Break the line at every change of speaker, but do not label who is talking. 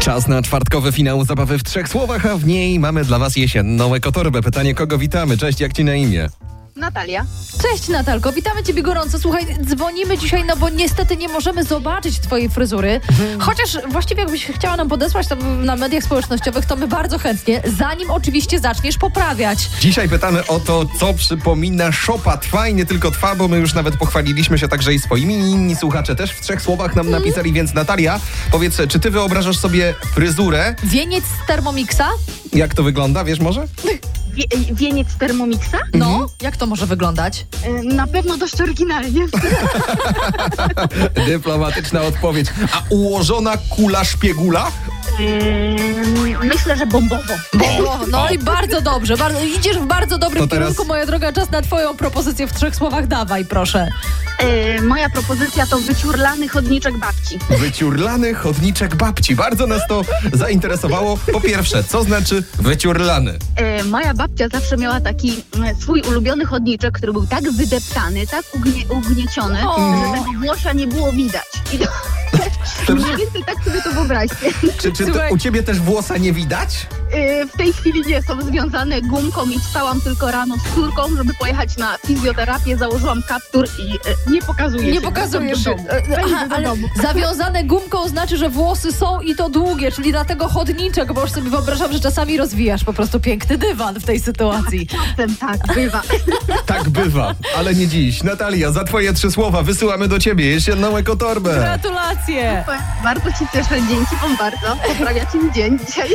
Czas na czwartkowy finał zabawy w trzech słowach, a w niej mamy dla Was jesienną ekotorbę. Pytanie, kogo witamy? Cześć, jak Ci na imię?
Natalia.
Cześć Natalko, witamy Ciebie gorąco. Słuchaj, dzwonimy dzisiaj, no bo niestety nie możemy zobaczyć Twojej fryzury.
Mhm.
Chociaż właściwie jakbyś chciała nam podesłać to na mediach społecznościowych, to my bardzo chętnie, zanim oczywiście zaczniesz poprawiać.
Dzisiaj pytamy o to, co przypomina Szopa. Trwa i nie tylko trwa, bo my już nawet pochwaliliśmy się także i swoimi. i Inni słuchacze też w trzech słowach nam napisali, więc Natalia, powiedz, czy Ty wyobrażasz sobie fryzurę?
Wieniec z Thermomixa?
Jak to wygląda, wiesz może?
Wie, wieniec Thermomixa?
No,
Mhm.
jak to może wyglądać?
E, Na pewno dość oryginalnie.
Dyplomatyczna odpowiedź. A ułożona kula szpiegula?
E, Myślę, że bombowo.
O, no i bardzo dobrze, bardzo, idziesz w bardzo dobrym
To teraz-
kierunku, moja droga, czas na Twoją propozycję w trzech słowach, dawaj proszę.
E, Moja propozycja to wyciurlany chodniczek babci.
Wyciurlany chodniczek babci. Bardzo nas to zainteresowało. Po pierwsze, co znaczy wyciurlany?
E, Moja babcia zawsze miała taki e, swój ulubiony chodniczek, który był tak wydeptany, tak ugnie, ugnieciony,
O.
że tego włosia nie było widać. I to, mniej więcej tak sobie to wyobraźcie.
Czy, czy to,
Słuchaj.
u ciebie też włosa nie widać?
E, W tej chwili nie są związane gumką i wstałam tylko rano z córką, żeby pojechać na fizjoterapię, założyłam kaptur i e, nie pokazuję
Nie
się.
pokazujesz.
Wracam do domu.
E,
Wejdę
Aha,
do
ale
domu.
zawiązane gumką znaczy, że włosy są i to długie, czyli dlatego chodniczek, bo już sobie wyobrażam, że czasami rozwijasz po prostu piękny dywan w tej sytuacji.
Czasem tak bywa.
Tak bywa, ale nie dziś. Natalia, za twoje trzy słowa wysyłamy do ciebie jesienną ekotorbę.
Gratulacje!
Bardzo się cieszę, dzięki Wam bardzo. Poprawiacie mi dzień dzisiaj.